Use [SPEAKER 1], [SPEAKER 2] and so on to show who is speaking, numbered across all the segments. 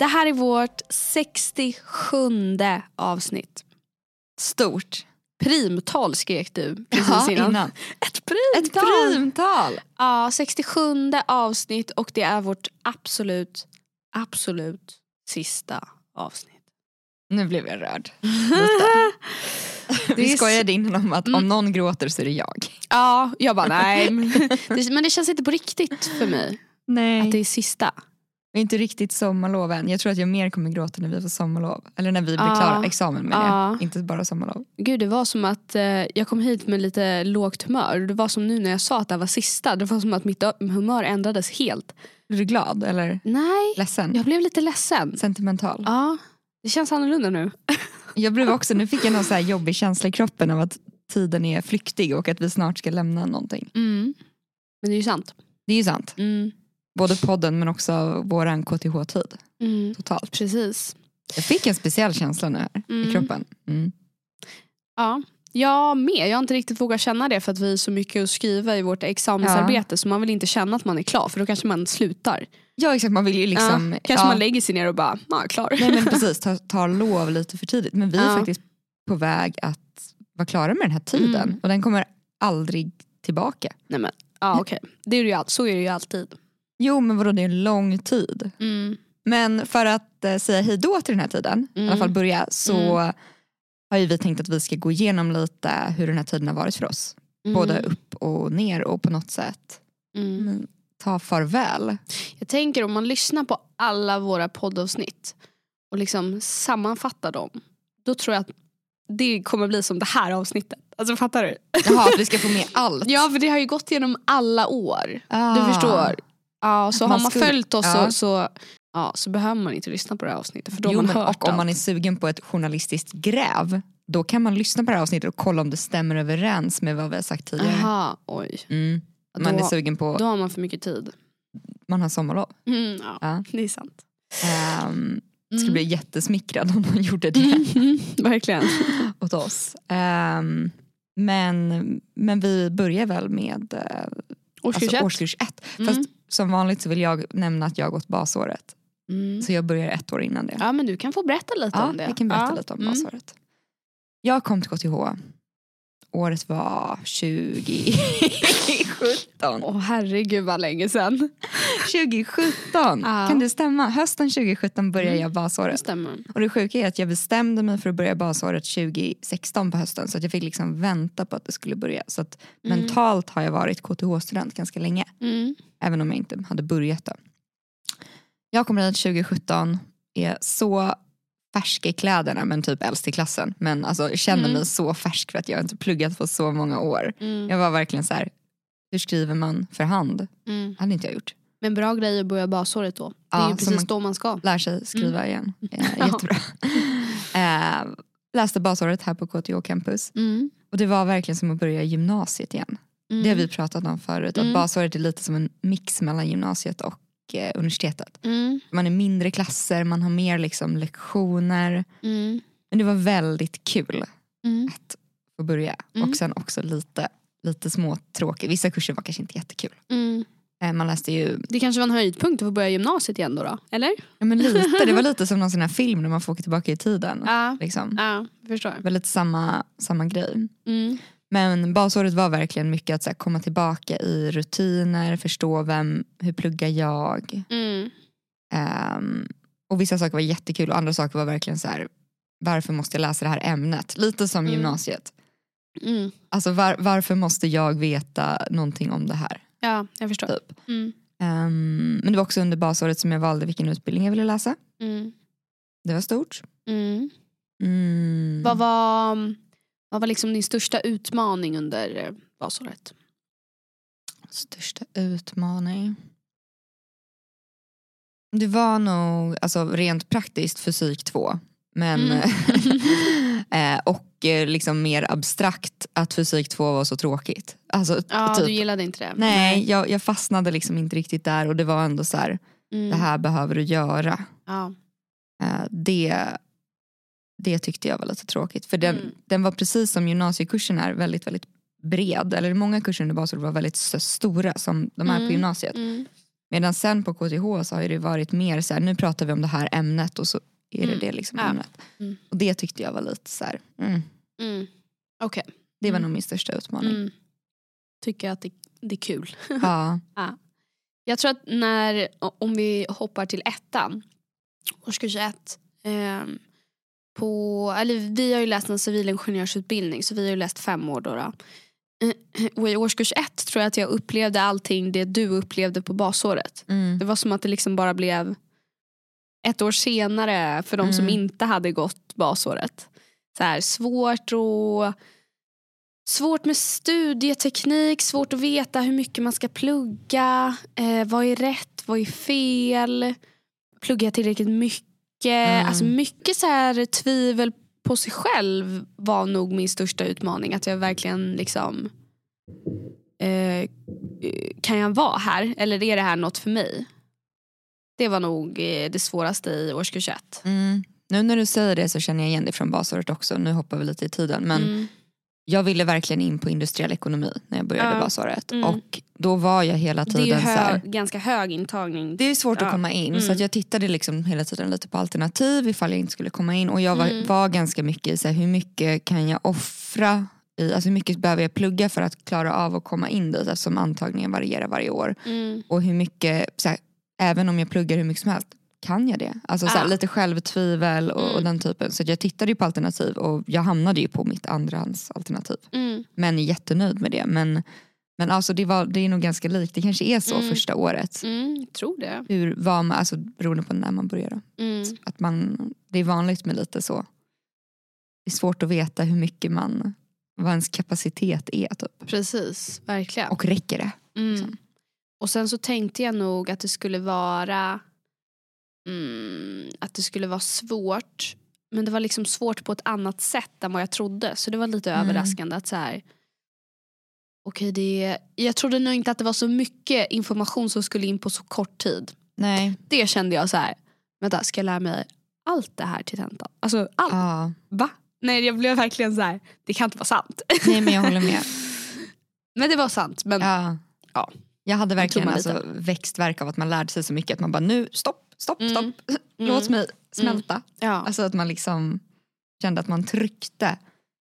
[SPEAKER 1] här är vårt 67 avsnitt.
[SPEAKER 2] Stort.
[SPEAKER 1] Primtal skrek du precis
[SPEAKER 2] Ja,
[SPEAKER 1] innan.
[SPEAKER 2] innan.
[SPEAKER 1] Ett primtal!
[SPEAKER 2] Ett primtal.
[SPEAKER 1] Ja, 67 avsnitt och det är vårt absolut, absolut sista avsnitt.
[SPEAKER 2] Nu blev jag rörd. Lite.
[SPEAKER 1] Det
[SPEAKER 2] Vi
[SPEAKER 1] är
[SPEAKER 2] skojade innan om att om någon gråter så är det jag.
[SPEAKER 1] Ja, jag bara nej. Det- Men det känns inte på riktigt för mig att
[SPEAKER 2] Nej.
[SPEAKER 1] det är sista.
[SPEAKER 2] Det är inte riktigt sommarlov än. Jag tror att jag mer kommer gråta när vi får sommarlov. Eller när vi blir
[SPEAKER 1] Ja.
[SPEAKER 2] klara examen med
[SPEAKER 1] Ja.
[SPEAKER 2] det. Inte bara sommarlov.
[SPEAKER 1] Gud det var som att eh, jag kom hit med lite lågt humör. Det var som nu när jag sa att det här var sista. Det var som att mitt ö- humör ändrades helt.
[SPEAKER 2] Blir du glad eller
[SPEAKER 1] Nej,
[SPEAKER 2] ledsen?
[SPEAKER 1] jag blev lite ledsen.
[SPEAKER 2] Sentimental.
[SPEAKER 1] Ja, det känns annorlunda nu.
[SPEAKER 2] Jag blev också, nu fick jag någon så här jobbig känsla i kroppen av att tiden är flyktig och att vi snart ska lämna någonting.
[SPEAKER 1] Mm. Men det är ju sant.
[SPEAKER 2] Det är ju sant.
[SPEAKER 1] Mm.
[SPEAKER 2] Både podden men också våran KTH-tid totalt.
[SPEAKER 1] Mm. Precis.
[SPEAKER 2] Jag fick en speciell känsla nu här
[SPEAKER 1] Mm.
[SPEAKER 2] i kroppen. Mm.
[SPEAKER 1] Ja, jag med. Jag har inte riktigt vågat känna det för att vi är så mycket att skriva i vårt examensarbete så man vill inte känna att man är klar för då kanske man slutar.
[SPEAKER 2] Ja exakt, man vill ju liksom...
[SPEAKER 1] ja, kanske man lägger sig ner och bara, ja klar.
[SPEAKER 2] Nej men precis, ta, ta lov lite för tidigt. Men vi är
[SPEAKER 1] Ja.
[SPEAKER 2] faktiskt på väg att vara klara med den här tiden
[SPEAKER 1] Mm.
[SPEAKER 2] och den kommer aldrig tillbaka.
[SPEAKER 1] Nej, men, ja, okej. Det är det ju, all- så är det ju alltid.
[SPEAKER 2] Jo men vadå det är en lång tid.
[SPEAKER 1] Mm.
[SPEAKER 2] Men för att eh, säga hej då till den här tiden, i alla fall
[SPEAKER 1] Mm.
[SPEAKER 2] börja, så har ju vi tänkt att vi ska gå igenom lite hur den här tiden har varit för oss. Både upp och ner och på något sätt
[SPEAKER 1] Mm.
[SPEAKER 2] men, ta farväl.
[SPEAKER 1] Jag tänker om man lyssnar på alla våra poddavsnitt och liksom sammanfattar dem, då tror jag att det kommer bli som det här avsnittet. Alltså fattar du?
[SPEAKER 2] Jaha, att vi ska få med allt.
[SPEAKER 1] Ja för det har ju gått genom alla år. Du
[SPEAKER 2] Ah.
[SPEAKER 1] förstår. Ja, så
[SPEAKER 2] Att
[SPEAKER 1] har
[SPEAKER 2] man
[SPEAKER 1] man
[SPEAKER 2] skulle-
[SPEAKER 1] följt oss
[SPEAKER 2] Ja.
[SPEAKER 1] så, så, ja, så behöver man inte lyssna på det här avsnittet för då har
[SPEAKER 2] Jo,
[SPEAKER 1] man
[SPEAKER 2] men,
[SPEAKER 1] hört
[SPEAKER 2] och om man
[SPEAKER 1] allt.
[SPEAKER 2] är sugen på ett journalistiskt gräv då kan man lyssna på det här avsnittet och kolla om det stämmer överens med vad vi har sagt tidigare.
[SPEAKER 1] Aha, oj.
[SPEAKER 2] Mm.
[SPEAKER 1] Då-
[SPEAKER 2] Man är sugen på,
[SPEAKER 1] Då har man för mycket tid.
[SPEAKER 2] man har sommarlov.
[SPEAKER 1] Mm, ja,
[SPEAKER 2] Ja.
[SPEAKER 1] Det är sant.
[SPEAKER 2] Um,
[SPEAKER 1] Mm.
[SPEAKER 2] skulle bli jättesmickrad om någon gjorde det
[SPEAKER 1] Verkligen.
[SPEAKER 2] åt oss. Ehm, men, men vi börjar väl med eh,
[SPEAKER 1] Årskurs
[SPEAKER 2] alltså,
[SPEAKER 1] ett.
[SPEAKER 2] årskurs ett.
[SPEAKER 1] Mm.
[SPEAKER 2] Fast som vanligt så vill jag nämna att jag har gått basåret.
[SPEAKER 1] Mm.
[SPEAKER 2] Så jag börjar ett år innan det.
[SPEAKER 1] Ja men du kan få berätta lite
[SPEAKER 2] Ja,
[SPEAKER 1] om det.
[SPEAKER 2] jag kan berätta
[SPEAKER 1] Ja.
[SPEAKER 2] lite om
[SPEAKER 1] Mm.
[SPEAKER 2] basåret. Jag kom till KTH. Året var 2017.
[SPEAKER 1] Åh herregud vad länge sedan.
[SPEAKER 2] 2017!
[SPEAKER 1] Ja.
[SPEAKER 2] Kan det stämma? Hösten 2017 började
[SPEAKER 1] Mm.
[SPEAKER 2] jag
[SPEAKER 1] Det
[SPEAKER 2] basåret.
[SPEAKER 1] stämmer.
[SPEAKER 2] Och det sjuka är att jag bestämde mig för att börja basåret 2016 på hösten så att jag fick liksom vänta på att det skulle börja. Så att
[SPEAKER 1] Mm.
[SPEAKER 2] mentalt har jag varit KTH-student ganska länge.
[SPEAKER 1] Mm.
[SPEAKER 2] Även om jag inte hade börjat då. Jag kommer hit 2017, är så färsk i kläderna men typ äldst i klassen. Men alltså känner
[SPEAKER 1] Mm.
[SPEAKER 2] mig så färsk för att jag inte pluggat på så många år.
[SPEAKER 1] Mm.
[SPEAKER 2] Jag var verkligen så här, hur skriver man för hand?
[SPEAKER 1] Mm.
[SPEAKER 2] hade inte jag gjort.
[SPEAKER 1] Men bra grej att börja basåret då. Det är
[SPEAKER 2] Ja,
[SPEAKER 1] ju
[SPEAKER 2] så
[SPEAKER 1] precis
[SPEAKER 2] man-
[SPEAKER 1] då man ska.
[SPEAKER 2] Lär sig
[SPEAKER 1] Mm.
[SPEAKER 2] skriva igen. Eh, jättebra. eh, läste basåret här på KTH campus.
[SPEAKER 1] Mm.
[SPEAKER 2] Och det var verkligen som att börja gymnasiet igen.
[SPEAKER 1] Mm.
[SPEAKER 2] Det har vi pratat om förut. Att
[SPEAKER 1] Mm.
[SPEAKER 2] basåret är lite som en mix mellan gymnasiet och eh, universitetet.
[SPEAKER 1] Mm.
[SPEAKER 2] Man är mindre klasser, man har mer liksom lektioner.
[SPEAKER 1] Mm.
[SPEAKER 2] Men det var väldigt kul
[SPEAKER 1] Mm.
[SPEAKER 2] att börja.
[SPEAKER 1] Mm.
[SPEAKER 2] Och sen också lite, lite småtråkigt. Vissa kurser var kanske inte jättekul.
[SPEAKER 1] Mm.
[SPEAKER 2] Eh, Man läste ju
[SPEAKER 1] Det kanske var en höjdpunkt att få börja gymnasiet igen då, då eller?
[SPEAKER 2] ja, men lite, det var lite som någon sån här film när man får åka tillbaka i tiden.
[SPEAKER 1] Ja,
[SPEAKER 2] Liksom.
[SPEAKER 1] ja förstår.
[SPEAKER 2] Det var lite samma, samma grej.
[SPEAKER 1] Mm.
[SPEAKER 2] Men basåret var verkligen mycket att så här, komma tillbaka i rutiner, förstå vem, hur pluggar jag.
[SPEAKER 1] Mm.
[SPEAKER 2] Ehm, och vissa saker var jättekul och andra saker var verkligen så här, varför måste jag läsa det här ämnet? Lite som
[SPEAKER 1] Mm.
[SPEAKER 2] gymnasiet.
[SPEAKER 1] Mm.
[SPEAKER 2] Alltså var, varför måste jag veta någonting om det här?
[SPEAKER 1] Ja, jag förstår.
[SPEAKER 2] Typ.
[SPEAKER 1] Mm.
[SPEAKER 2] Ehm, men det var också under basåret som jag valde vilken utbildning jag ville läsa.
[SPEAKER 1] Mm.
[SPEAKER 2] Det var stort.
[SPEAKER 1] Mm.
[SPEAKER 2] Mm.
[SPEAKER 1] Vad var, vad var liksom din största utmaning under eh, basåret?
[SPEAKER 2] Största utmaning? Det var nog alltså, rent praktiskt fysik 2. Men,
[SPEAKER 1] Mm.
[SPEAKER 2] Eh, och eh, liksom mer abstrakt att fysik 2 var så tråkigt. Alltså,
[SPEAKER 1] Ja,
[SPEAKER 2] typ,
[SPEAKER 1] du gillade inte det?
[SPEAKER 2] nej, jag, jag fastnade liksom inte riktigt där och det var ändå så här,
[SPEAKER 1] Mm.
[SPEAKER 2] det här behöver du göra.
[SPEAKER 1] Ja.
[SPEAKER 2] Eh, det, det tyckte jag var lite tråkigt. För den,
[SPEAKER 1] Mm.
[SPEAKER 2] den var precis som gymnasiekursen är väldigt, väldigt bred. Eller många kurser under basåret var väldigt s- stora som de här på
[SPEAKER 1] Mm.
[SPEAKER 2] gymnasiet.
[SPEAKER 1] Mm.
[SPEAKER 2] Medan sen på KTH så har ju det varit mer så här, nu pratar vi om det här ämnet och så är det
[SPEAKER 1] Mm.
[SPEAKER 2] det liksom
[SPEAKER 1] Ja.
[SPEAKER 2] ämnet.
[SPEAKER 1] Mm.
[SPEAKER 2] Och det tyckte jag var lite så här, mm.
[SPEAKER 1] Mm. Okej.
[SPEAKER 2] det var
[SPEAKER 1] Mm.
[SPEAKER 2] nog min största utmaning.
[SPEAKER 1] Mm. Tycker att det, det är kul.
[SPEAKER 2] Ja.
[SPEAKER 1] Jag tror att när, om vi hoppar till ettan, årskurs ett. ehm, på, eller vi har ju läst en civilingenjörsutbildning så vi har ju läst fem år. Då, då. Eh, Och I årskurs ett tror jag att jag upplevde allting det du upplevde på basåret.
[SPEAKER 2] Mm.
[SPEAKER 1] Det var som att det liksom bara blev ett år senare för de som
[SPEAKER 2] Mm.
[SPEAKER 1] inte hade gått basåret. Så här, svårt och Svårt med studieteknik, svårt att veta hur mycket man ska plugga. Eh, vad är rätt, vad är fel? Pluggar jag tillräckligt mycket?
[SPEAKER 2] Mm.
[SPEAKER 1] Alltså mycket så här tvivel på sig själv var nog min största utmaning. Att jag verkligen liksom... Eh, kan jag vara här? Eller är det här något för mig? Det var nog eh, det svåraste i årskurs ett.
[SPEAKER 2] Mm. Nu när du säger det så känner jag igen det från basåret också, nu hoppar vi lite i tiden. Men
[SPEAKER 1] Mm.
[SPEAKER 2] jag ville verkligen in på industriell ekonomi när jag började
[SPEAKER 1] Ja.
[SPEAKER 2] basåret.
[SPEAKER 1] Mm.
[SPEAKER 2] Och då var jag hela
[SPEAKER 1] Det är ju
[SPEAKER 2] tiden så här,
[SPEAKER 1] hö- ganska hög intagning.
[SPEAKER 2] Det är svårt
[SPEAKER 1] Ja.
[SPEAKER 2] att komma in så
[SPEAKER 1] Mm.
[SPEAKER 2] att jag tittade liksom hela tiden lite på alternativ ifall jag inte skulle komma in och jag var,
[SPEAKER 1] Mm.
[SPEAKER 2] var ganska mycket i så här, hur mycket kan jag offra i, alltså hur mycket behöver jag plugga för att klara av att komma in dit eftersom antagningen varierar varje år
[SPEAKER 1] Mm.
[SPEAKER 2] och hur mycket, så här, även om jag pluggar hur mycket som helst, kan jag det? Alltså så här,
[SPEAKER 1] Ah.
[SPEAKER 2] lite självtvivel och, och
[SPEAKER 1] Mm.
[SPEAKER 2] den typen så att jag tittade ju på alternativ och jag hamnade ju på mitt andrahandsalternativ
[SPEAKER 1] Mm.
[SPEAKER 2] men är jättenöjd med det men, men alltså det, var, det är nog ganska likt, det kanske är så
[SPEAKER 1] Mm.
[SPEAKER 2] första året
[SPEAKER 1] Mm. Tror det.
[SPEAKER 2] hur vad man, alltså beroende på när man börjar då.
[SPEAKER 1] Mm.
[SPEAKER 2] Att man, det är vanligt med lite så. Det är svårt att veta hur mycket man, vad ens kapacitet är typ.
[SPEAKER 1] Precis, verkligen.
[SPEAKER 2] Och räcker det?
[SPEAKER 1] Mm. Och sen så tänkte jag nog att det skulle vara mm, att det skulle vara svårt. Men det var liksom svårt på ett annat sätt än vad jag trodde. Så det var lite
[SPEAKER 2] Mm.
[SPEAKER 1] överraskande att så här. Okej, det jag trodde nog inte att det var så mycket information som skulle in på så kort tid.
[SPEAKER 2] Nej.
[SPEAKER 1] Det kände jag så här. Vänta, ska jag lära mig allt det här till tentan? Alltså allt?
[SPEAKER 2] Ja.
[SPEAKER 1] Va? Nej, jag blev verkligen så här. Det kan inte vara sant.
[SPEAKER 2] Nej men jag håller med.
[SPEAKER 1] men det var sant. Men
[SPEAKER 2] Ja.
[SPEAKER 1] Ja.
[SPEAKER 2] Jag hade verkligen
[SPEAKER 1] tummar
[SPEAKER 2] alltså, växtverk av att man lärde sig så mycket att man bara nu stopp, stopp,
[SPEAKER 1] Mm.
[SPEAKER 2] stopp. Låt mig smälta.
[SPEAKER 1] ja.
[SPEAKER 2] Alltså att man liksom kände att man tryckte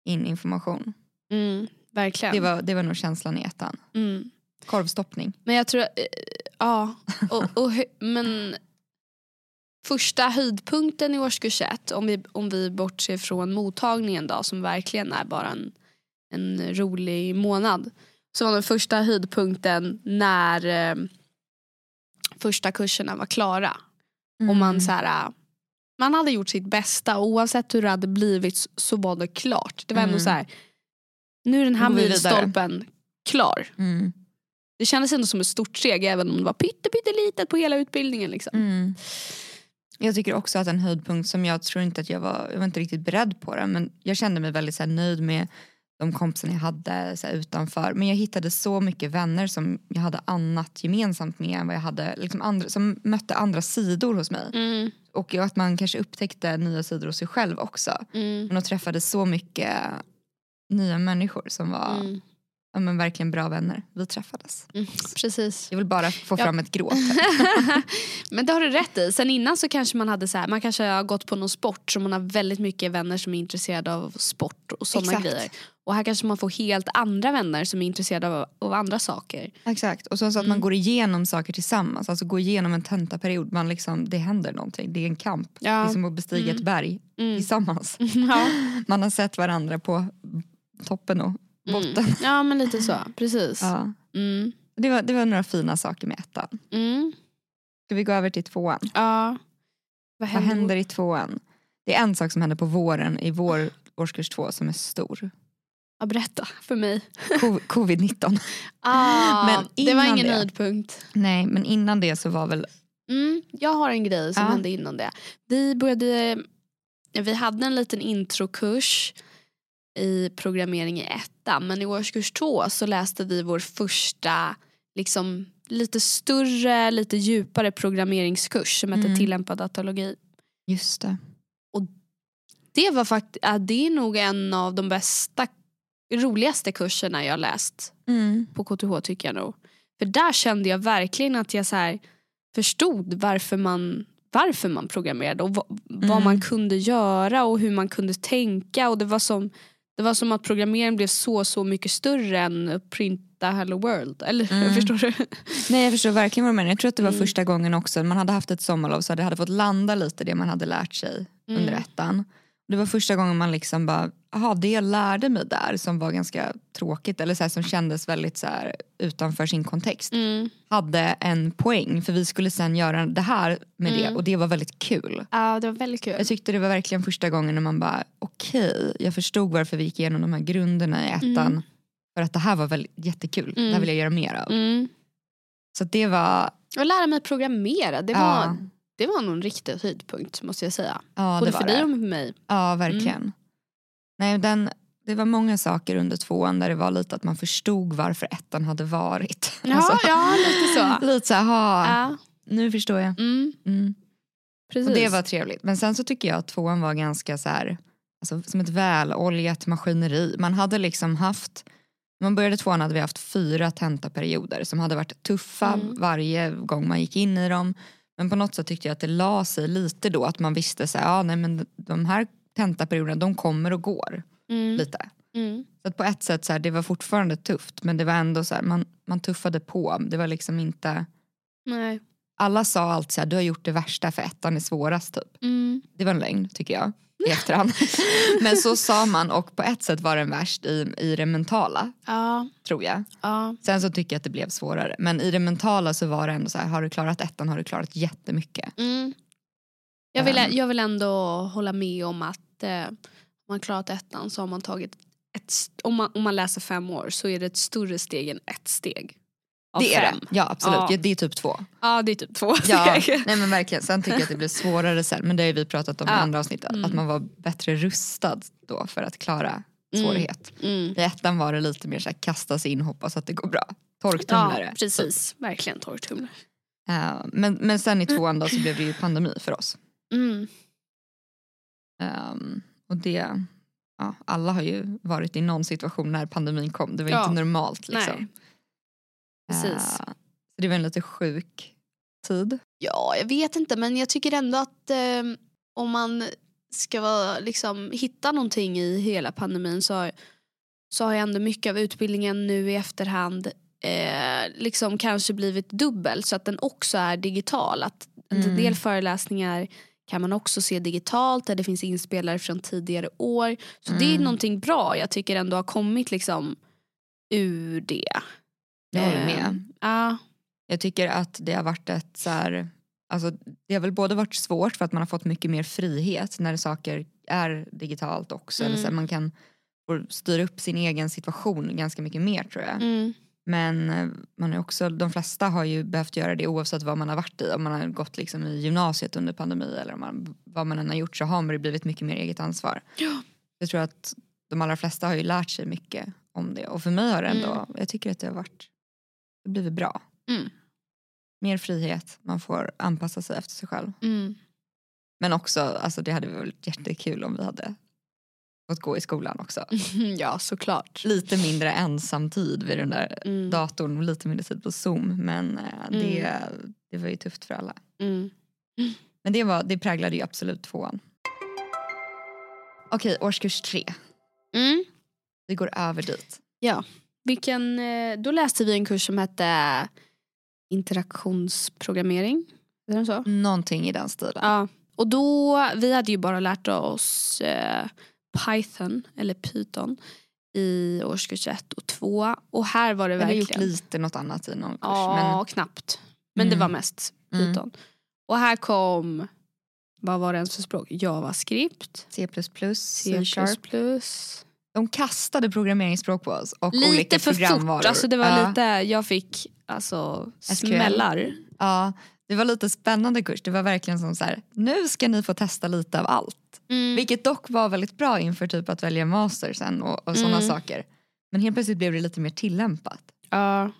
[SPEAKER 2] in information.
[SPEAKER 1] Mm, verkligen.
[SPEAKER 2] Det, var, det var nog känslan i ettan.
[SPEAKER 1] mm.
[SPEAKER 2] Korvstoppning.
[SPEAKER 1] Men jag tror, eh, ja. Och, och, hö- men första höjdpunkten i årskurs ett, om vi, om vi bortser från mottagningen då, som verkligen är bara en, en rolig månad. Så var den första höjdpunkten när eh, första kurserna var klara. Mm. Och
[SPEAKER 2] Mm.
[SPEAKER 1] man, så här, eh, man hade gjort sitt bästa och oavsett hur det hade blivit s- så var det klart. Det var ändå
[SPEAKER 2] Mm.
[SPEAKER 1] så här, nu är den här
[SPEAKER 2] Nu går vi vidare.
[SPEAKER 1] milstolpen klar.
[SPEAKER 2] Mm.
[SPEAKER 1] Det kändes ändå som ett stort steg även om det var pytte pyttelitet på hela utbildningen. Liksom.
[SPEAKER 2] Mm. Jag tycker också att en höjdpunkt som jag tror inte att jag var, jag var inte riktigt beredd på det men jag kände mig väldigt så här, nöjd med de kompisarna jag hade så här, utanför men jag hittade så mycket vänner som jag hade annat gemensamt med än vad jag hade, liksom andra, som mötte andra sidor hos mig
[SPEAKER 1] Mm.
[SPEAKER 2] och att man kanske upptäckte nya sidor hos sig själv också.
[SPEAKER 1] Mm.
[SPEAKER 2] Men jag träffade så mycket nya människor som var
[SPEAKER 1] Mm.
[SPEAKER 2] ja, men verkligen bra vänner. Vi träffades.
[SPEAKER 1] Mm. Precis.
[SPEAKER 2] Jag vill bara få
[SPEAKER 1] Ja.
[SPEAKER 2] fram ett gråt.
[SPEAKER 1] Men det har du rätt i. Sen innan så kanske man hade så här, man kanske har gått på någon sport så man har väldigt mycket vänner som är intresserade av sport och sådana
[SPEAKER 2] Exakt.
[SPEAKER 1] grejer. Och här kanske man får helt andra vänner som är intresserade av, av andra saker.
[SPEAKER 2] Exakt, och sen så att man går igenom saker tillsammans, alltså går igenom en tentaperiod, man liksom, det händer någonting, det är en kamp.
[SPEAKER 1] Ja.
[SPEAKER 2] Det är som att bestiga ett berg
[SPEAKER 1] Mm.
[SPEAKER 2] tillsammans.
[SPEAKER 1] Liksom. Ja.
[SPEAKER 2] Man har sett varandra på toppen och botten.
[SPEAKER 1] Mm. Ja men lite så, precis.
[SPEAKER 2] Ja.
[SPEAKER 1] Mm.
[SPEAKER 2] Det, var, det var några fina saker med ettan.
[SPEAKER 1] Mm.
[SPEAKER 2] Ska vi gå över till tvåan?
[SPEAKER 1] Ja. Vad
[SPEAKER 2] Vad
[SPEAKER 1] händer?
[SPEAKER 2] händer i tvåan? Det är en sak som händer på våren i vår årskurs två som är stor.
[SPEAKER 1] Ja, berätta för mig.
[SPEAKER 2] Co- Covid-19.
[SPEAKER 1] Ah,
[SPEAKER 2] Men
[SPEAKER 1] det var
[SPEAKER 2] innan
[SPEAKER 1] ingen
[SPEAKER 2] det-
[SPEAKER 1] höjdpunkt.
[SPEAKER 2] Nej, men innan det så var väl...
[SPEAKER 1] Mm, jag har en grej som
[SPEAKER 2] Ja.
[SPEAKER 1] hände innan det. Vi började, vi hade en liten introkurs i programmering i ettan men i årskurs två så läste vi vår första liksom, lite större, lite djupare programmeringskurs som hette
[SPEAKER 2] Mm.
[SPEAKER 1] tillämpad datalogi.
[SPEAKER 2] Just det.
[SPEAKER 1] Det, var fakt- ja, det är nog en av de bästa, roligaste kurserna jag läst
[SPEAKER 2] Mm.
[SPEAKER 1] på KTH tycker jag nog. För där kände jag verkligen att jag så här, förstod varför man, varför man programmerade och vad, vad
[SPEAKER 2] Mm.
[SPEAKER 1] man kunde göra och hur man kunde tänka. Och det, var som, det var som att programmeringen blev så så mycket större än att printa Hello World. Eller
[SPEAKER 2] Mm.
[SPEAKER 1] förstår du?
[SPEAKER 2] Nej jag förstår verkligen vad du menar. Jag tror att det var
[SPEAKER 1] Mm.
[SPEAKER 2] första gången också man hade haft ett sommarlov så det hade fått landa lite det man hade lärt sig
[SPEAKER 1] Mm.
[SPEAKER 2] under ettan. Det var första gången man liksom bara, jaha det jag lärde mig där som var ganska tråkigt eller så här, som kändes väldigt så här, utanför sin kontext
[SPEAKER 1] Mm.
[SPEAKER 2] hade en poäng för vi skulle sen göra det här med
[SPEAKER 1] Mm.
[SPEAKER 2] det och det var väldigt kul.
[SPEAKER 1] Ja det var väldigt kul.
[SPEAKER 2] Jag tyckte det var verkligen första gången när man bara okej, jag förstod varför vi gick igenom de här grunderna i ettan. För att det här var väldigt jättekul, det här
[SPEAKER 1] Mm.
[SPEAKER 2] vill jag göra mer av.
[SPEAKER 1] Mm.
[SPEAKER 2] Så att det var,
[SPEAKER 1] Och lära mig programmera, det var,
[SPEAKER 2] ja,
[SPEAKER 1] det var nog en riktig höjdpunkt måste jag säga.
[SPEAKER 2] ja det
[SPEAKER 1] Både
[SPEAKER 2] var
[SPEAKER 1] för dig
[SPEAKER 2] det.
[SPEAKER 1] och Mm. för mig.
[SPEAKER 2] Ja verkligen. Nej, den, det var många saker under tvåan där det var lite att man förstod varför ettan hade varit.
[SPEAKER 1] Ja,
[SPEAKER 2] Alltså,
[SPEAKER 1] ja lite så.
[SPEAKER 2] Lite så här, ha,
[SPEAKER 1] Ja,
[SPEAKER 2] nu förstår jag.
[SPEAKER 1] mm,
[SPEAKER 2] Mm.
[SPEAKER 1] precis.
[SPEAKER 2] Och det var trevligt. Men sen så tycker jag att tvåan var ganska så här, alltså, som ett väloljat maskineri. Man hade liksom haft, när man började tvåan hade vi haft fyra tentaperioder som hade varit tuffa
[SPEAKER 1] Mm.
[SPEAKER 2] varje gång man gick in i dem. Men på något sätt tyckte jag att det la sig lite då att man visste så här, ja nej men de här tentaperioderna de kommer och går
[SPEAKER 1] mm,
[SPEAKER 2] lite.
[SPEAKER 1] mm,
[SPEAKER 2] Så att på ett sätt så här, det var fortfarande tufft men det var ändå så här, man, man tuffade på. Det var liksom inte,
[SPEAKER 1] nej.
[SPEAKER 2] alla sa alltid så här, du har gjort det värsta för ettan är svårast typ
[SPEAKER 1] Mm,
[SPEAKER 2] det var en lögn tycker jag i efterhand. Men så sa man och på ett sätt var den värst i, i det mentala
[SPEAKER 1] ja,
[SPEAKER 2] tror jag.
[SPEAKER 1] ja.
[SPEAKER 2] Sen så tycker jag att det blev svårare. Men i det mentala så var det ändå så här, har du klarat ettan har du klarat jättemycket.
[SPEAKER 1] Mm. Jag, vill, jag vill ändå hålla med om att eh, om man klarat ettan så har man tagit ett, st- om, man, om man läser fem år så är det ett större steg än ett steg. Av
[SPEAKER 2] det är
[SPEAKER 1] fem.
[SPEAKER 2] det. Ja absolut,
[SPEAKER 1] Ja.
[SPEAKER 2] Ja, det är typ två.
[SPEAKER 1] Ja det är typ två
[SPEAKER 2] Ja,
[SPEAKER 1] steg.
[SPEAKER 2] nej men verkligen. Sen tycker jag att det blev svårare sen. Men det har ju vi pratat om i
[SPEAKER 1] Ja. Mm.
[SPEAKER 2] andra avsnitt. Att man var bättre rustad då för att klara svårighet.
[SPEAKER 1] Mm.
[SPEAKER 2] I ettan var det lite mer så här kasta sig in hoppas att det går bra. Torktumlare.
[SPEAKER 1] Ja precis, verkligen torrtumlare.
[SPEAKER 2] Eh, men, men sen i tvåan då så blev det ju pandemi för oss.
[SPEAKER 1] Mm.
[SPEAKER 2] Ehm, och det, ja, alla har ju varit i någon situation när pandemin kom. Det var
[SPEAKER 1] Ja.
[SPEAKER 2] inte normalt. Liksom.
[SPEAKER 1] Nej. Precis.
[SPEAKER 2] Eh, så det var en lite sjuk tid.
[SPEAKER 1] Ja, jag vet inte men jag tycker ändå att eh, om man ska vara, liksom, hitta någonting i hela pandemin så har, så har ju ändå mycket av utbildningen nu i efterhand eh, liksom kanske blivit dubbel så att den också är digital. Att En
[SPEAKER 2] Mm.
[SPEAKER 1] del föreläsningar kan man också se digitalt där det finns inspelare från tidigare år. Så det är
[SPEAKER 2] Mm.
[SPEAKER 1] någonting bra jag tycker ändå har kommit liksom ur det.
[SPEAKER 2] Jag håller
[SPEAKER 1] Eh,
[SPEAKER 2] med.
[SPEAKER 1] Ja,
[SPEAKER 2] Jag tycker att det har varit ett så här, alltså, det har väl både varit svårt för att man har fått mycket mer frihet när saker är digitalt också. Eller så här,
[SPEAKER 1] Mm.
[SPEAKER 2] man kan får styra upp sin egen situation ganska mycket mer tror jag.
[SPEAKER 1] mm,
[SPEAKER 2] Men eh, man är också, de flesta har ju behövt göra det oavsett vad man har varit i. Om man har gått liksom i gymnasiet under pandemi eller om man, vad man än har gjort så har man det blivit mycket mer eget ansvar.
[SPEAKER 1] Ja.
[SPEAKER 2] Jag tror att de allra flesta har ju lärt sig mycket om det. Och för mig har det ändå,
[SPEAKER 1] Mm.
[SPEAKER 2] jag tycker att det har varit, det har blivit bra.
[SPEAKER 1] Mm.
[SPEAKER 2] Mer frihet, man får anpassa sig efter sig själv.
[SPEAKER 1] mm.
[SPEAKER 2] Men också, alltså det hade varit jättekul om vi hade fått gå i skolan också.
[SPEAKER 1] mm. Ja, såklart.
[SPEAKER 2] Lite mindre ensamtid vid den där
[SPEAKER 1] Mm.
[SPEAKER 2] datorn och lite mindre tid på zoom men eh, det, det var ju tufft för alla.
[SPEAKER 1] Mm.
[SPEAKER 2] Men det, var, det präglade ju absolut tvåan. Okej, årskurs tre.
[SPEAKER 1] Mm.
[SPEAKER 2] Vi går över dit.
[SPEAKER 1] Vilken, eh, då läste vi en kurs som hette interaktionsprogrammering. Är den så?
[SPEAKER 2] Någonting i den stilen.
[SPEAKER 1] Ja. Och då, vi hade ju bara lärt oss eh, Python, eller Python, i årskurs 1 och 2. Och här var det
[SPEAKER 2] Vi har
[SPEAKER 1] verkligen...
[SPEAKER 2] gjort lite något annat i någon kurs.
[SPEAKER 1] Ja, knappt. Men det
[SPEAKER 2] Mm.
[SPEAKER 1] var mest
[SPEAKER 2] Mm.
[SPEAKER 1] Python. Och här kom, vad var det ens för språk? Javascript,
[SPEAKER 2] Men C++,
[SPEAKER 1] C++.
[SPEAKER 2] C-sharp. De kastade programmeringsspråk på oss och olika
[SPEAKER 1] Lite för
[SPEAKER 2] programvaror.
[SPEAKER 1] fort, alltså det var
[SPEAKER 2] ja,
[SPEAKER 1] lite, jag fick alltså
[SPEAKER 2] SQL.
[SPEAKER 1] smällar.
[SPEAKER 2] ja, det var lite spännande kurs. Det var verkligen som så här, nu ska ni få testa lite av allt. Vilket dock var väldigt bra inför typ att välja master sen och, och sådana
[SPEAKER 1] Mm.
[SPEAKER 2] saker. Men helt plötsligt blev det lite mer tillämpat.
[SPEAKER 1] Ja.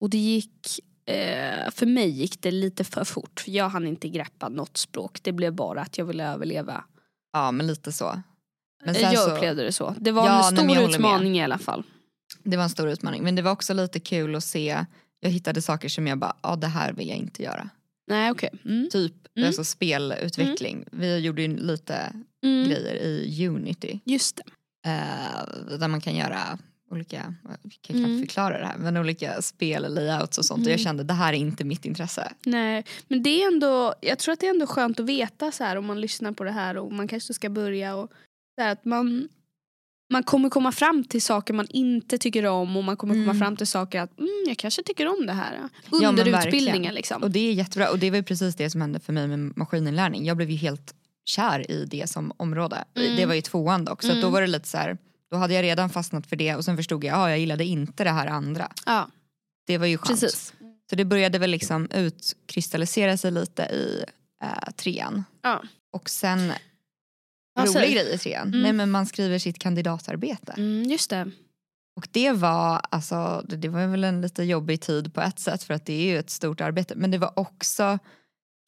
[SPEAKER 1] Och det gick, eh, för mig gick det lite för fort. för Jag hann inte greppa något språk, det blev bara att jag ville överleva.
[SPEAKER 2] Ja men lite så. Men
[SPEAKER 1] Eh,
[SPEAKER 2] sen
[SPEAKER 1] jag
[SPEAKER 2] så,
[SPEAKER 1] upplevde det så. Det var
[SPEAKER 2] Ja, nej,
[SPEAKER 1] en
[SPEAKER 2] men jag
[SPEAKER 1] stor
[SPEAKER 2] håller med.
[SPEAKER 1] utmaning i alla fall.
[SPEAKER 2] det var en stor utmaning. Men det var också lite kul att se, jag hittade saker som jag bara, ja det här vill jag inte göra.
[SPEAKER 1] Nej okej. Mm.
[SPEAKER 2] Typ
[SPEAKER 1] Mm.
[SPEAKER 2] alltså spelutveckling. Vi gjorde ju lite
[SPEAKER 1] Mm.
[SPEAKER 2] grejer i Unity.
[SPEAKER 1] Just det.
[SPEAKER 2] eh, där man kan göra olika, jag kan knappt
[SPEAKER 1] Mm.
[SPEAKER 2] förklara det här, men olika spel, layouts och sånt. Och jag
[SPEAKER 1] Mm.
[SPEAKER 2] kände det här är inte mitt intresse.
[SPEAKER 1] Nej, men det är ändå, jag tror att det är ändå skönt att veta så här om man lyssnar på det här och man kanske ska börja och så här, att man, man kommer komma fram till saker man inte tycker om och man kommer komma
[SPEAKER 2] Mm.
[SPEAKER 1] fram till saker att mm, jag kanske tycker om det här.
[SPEAKER 2] men
[SPEAKER 1] Under utbildningen
[SPEAKER 2] verkligen.
[SPEAKER 1] liksom.
[SPEAKER 2] Och det är jättebra och det var ju precis det som hände för mig med maskininlärning. Jag blev ju helt kär i det som område.
[SPEAKER 1] Mm.
[SPEAKER 2] Det var ju tvåan dock så att då
[SPEAKER 1] Mm.
[SPEAKER 2] var det lite så här, då hade jag redan fastnat för det och sen förstod jag att ah, jag gillade inte det här andra.
[SPEAKER 1] ja,
[SPEAKER 2] Det var ju skönt.
[SPEAKER 1] precis.
[SPEAKER 2] Så det började väl liksom utkristallisera sig lite i eh, trean.
[SPEAKER 1] Ja.
[SPEAKER 2] Och sen,
[SPEAKER 1] Vad
[SPEAKER 2] rolig
[SPEAKER 1] säger du?
[SPEAKER 2] grej i trean,
[SPEAKER 1] Mm.
[SPEAKER 2] Nej, men man skriver sitt kandidatarbete.
[SPEAKER 1] Mm, just det.
[SPEAKER 2] Och det var, alltså, det, det var väl en lite jobbig tid på ett sätt för att det är ju ett stort arbete. Men det var också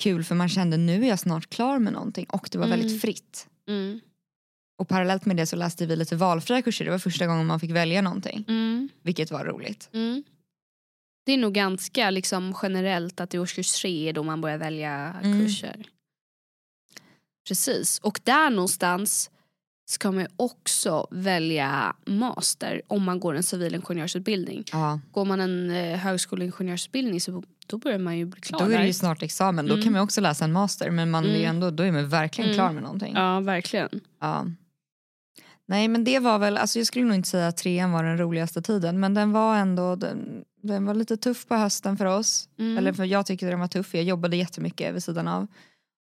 [SPEAKER 2] kul för man kände nu är jag snart klar med någonting och det var
[SPEAKER 1] Mm.
[SPEAKER 2] väldigt fritt.
[SPEAKER 1] Mm.
[SPEAKER 2] Och parallellt med det så läste vi lite valfria kurser, det var första gången man fick välja någonting.
[SPEAKER 1] Mm.
[SPEAKER 2] Vilket var roligt.
[SPEAKER 1] Mm. Det är nog ganska liksom, generellt att i årskurs tre är då man börjar välja
[SPEAKER 2] Mm.
[SPEAKER 1] kurser. Precis, och där någonstans ska man ju också välja master om man går en civilingenjörsutbildning.
[SPEAKER 2] Ja,
[SPEAKER 1] Går man en eh, högskoleingenjörsutbildning så då börjar man ju bli klar
[SPEAKER 2] då är
[SPEAKER 1] där.
[SPEAKER 2] det ju snart examen, då
[SPEAKER 1] Mm.
[SPEAKER 2] kan man också läsa en master men man är ju
[SPEAKER 1] Mm.
[SPEAKER 2] ändå, då är man verkligen
[SPEAKER 1] Mm.
[SPEAKER 2] klar med någonting.
[SPEAKER 1] Ja, verkligen.
[SPEAKER 2] Ja. Nej men det var väl, alltså jag skulle nog inte säga att trean var den roligaste tiden men den var ändå, den, den var lite tuff på hösten för oss.
[SPEAKER 1] Mm.
[SPEAKER 2] Eller för jag tyckte den var tuff, jag jobbade jättemycket vid sidan av.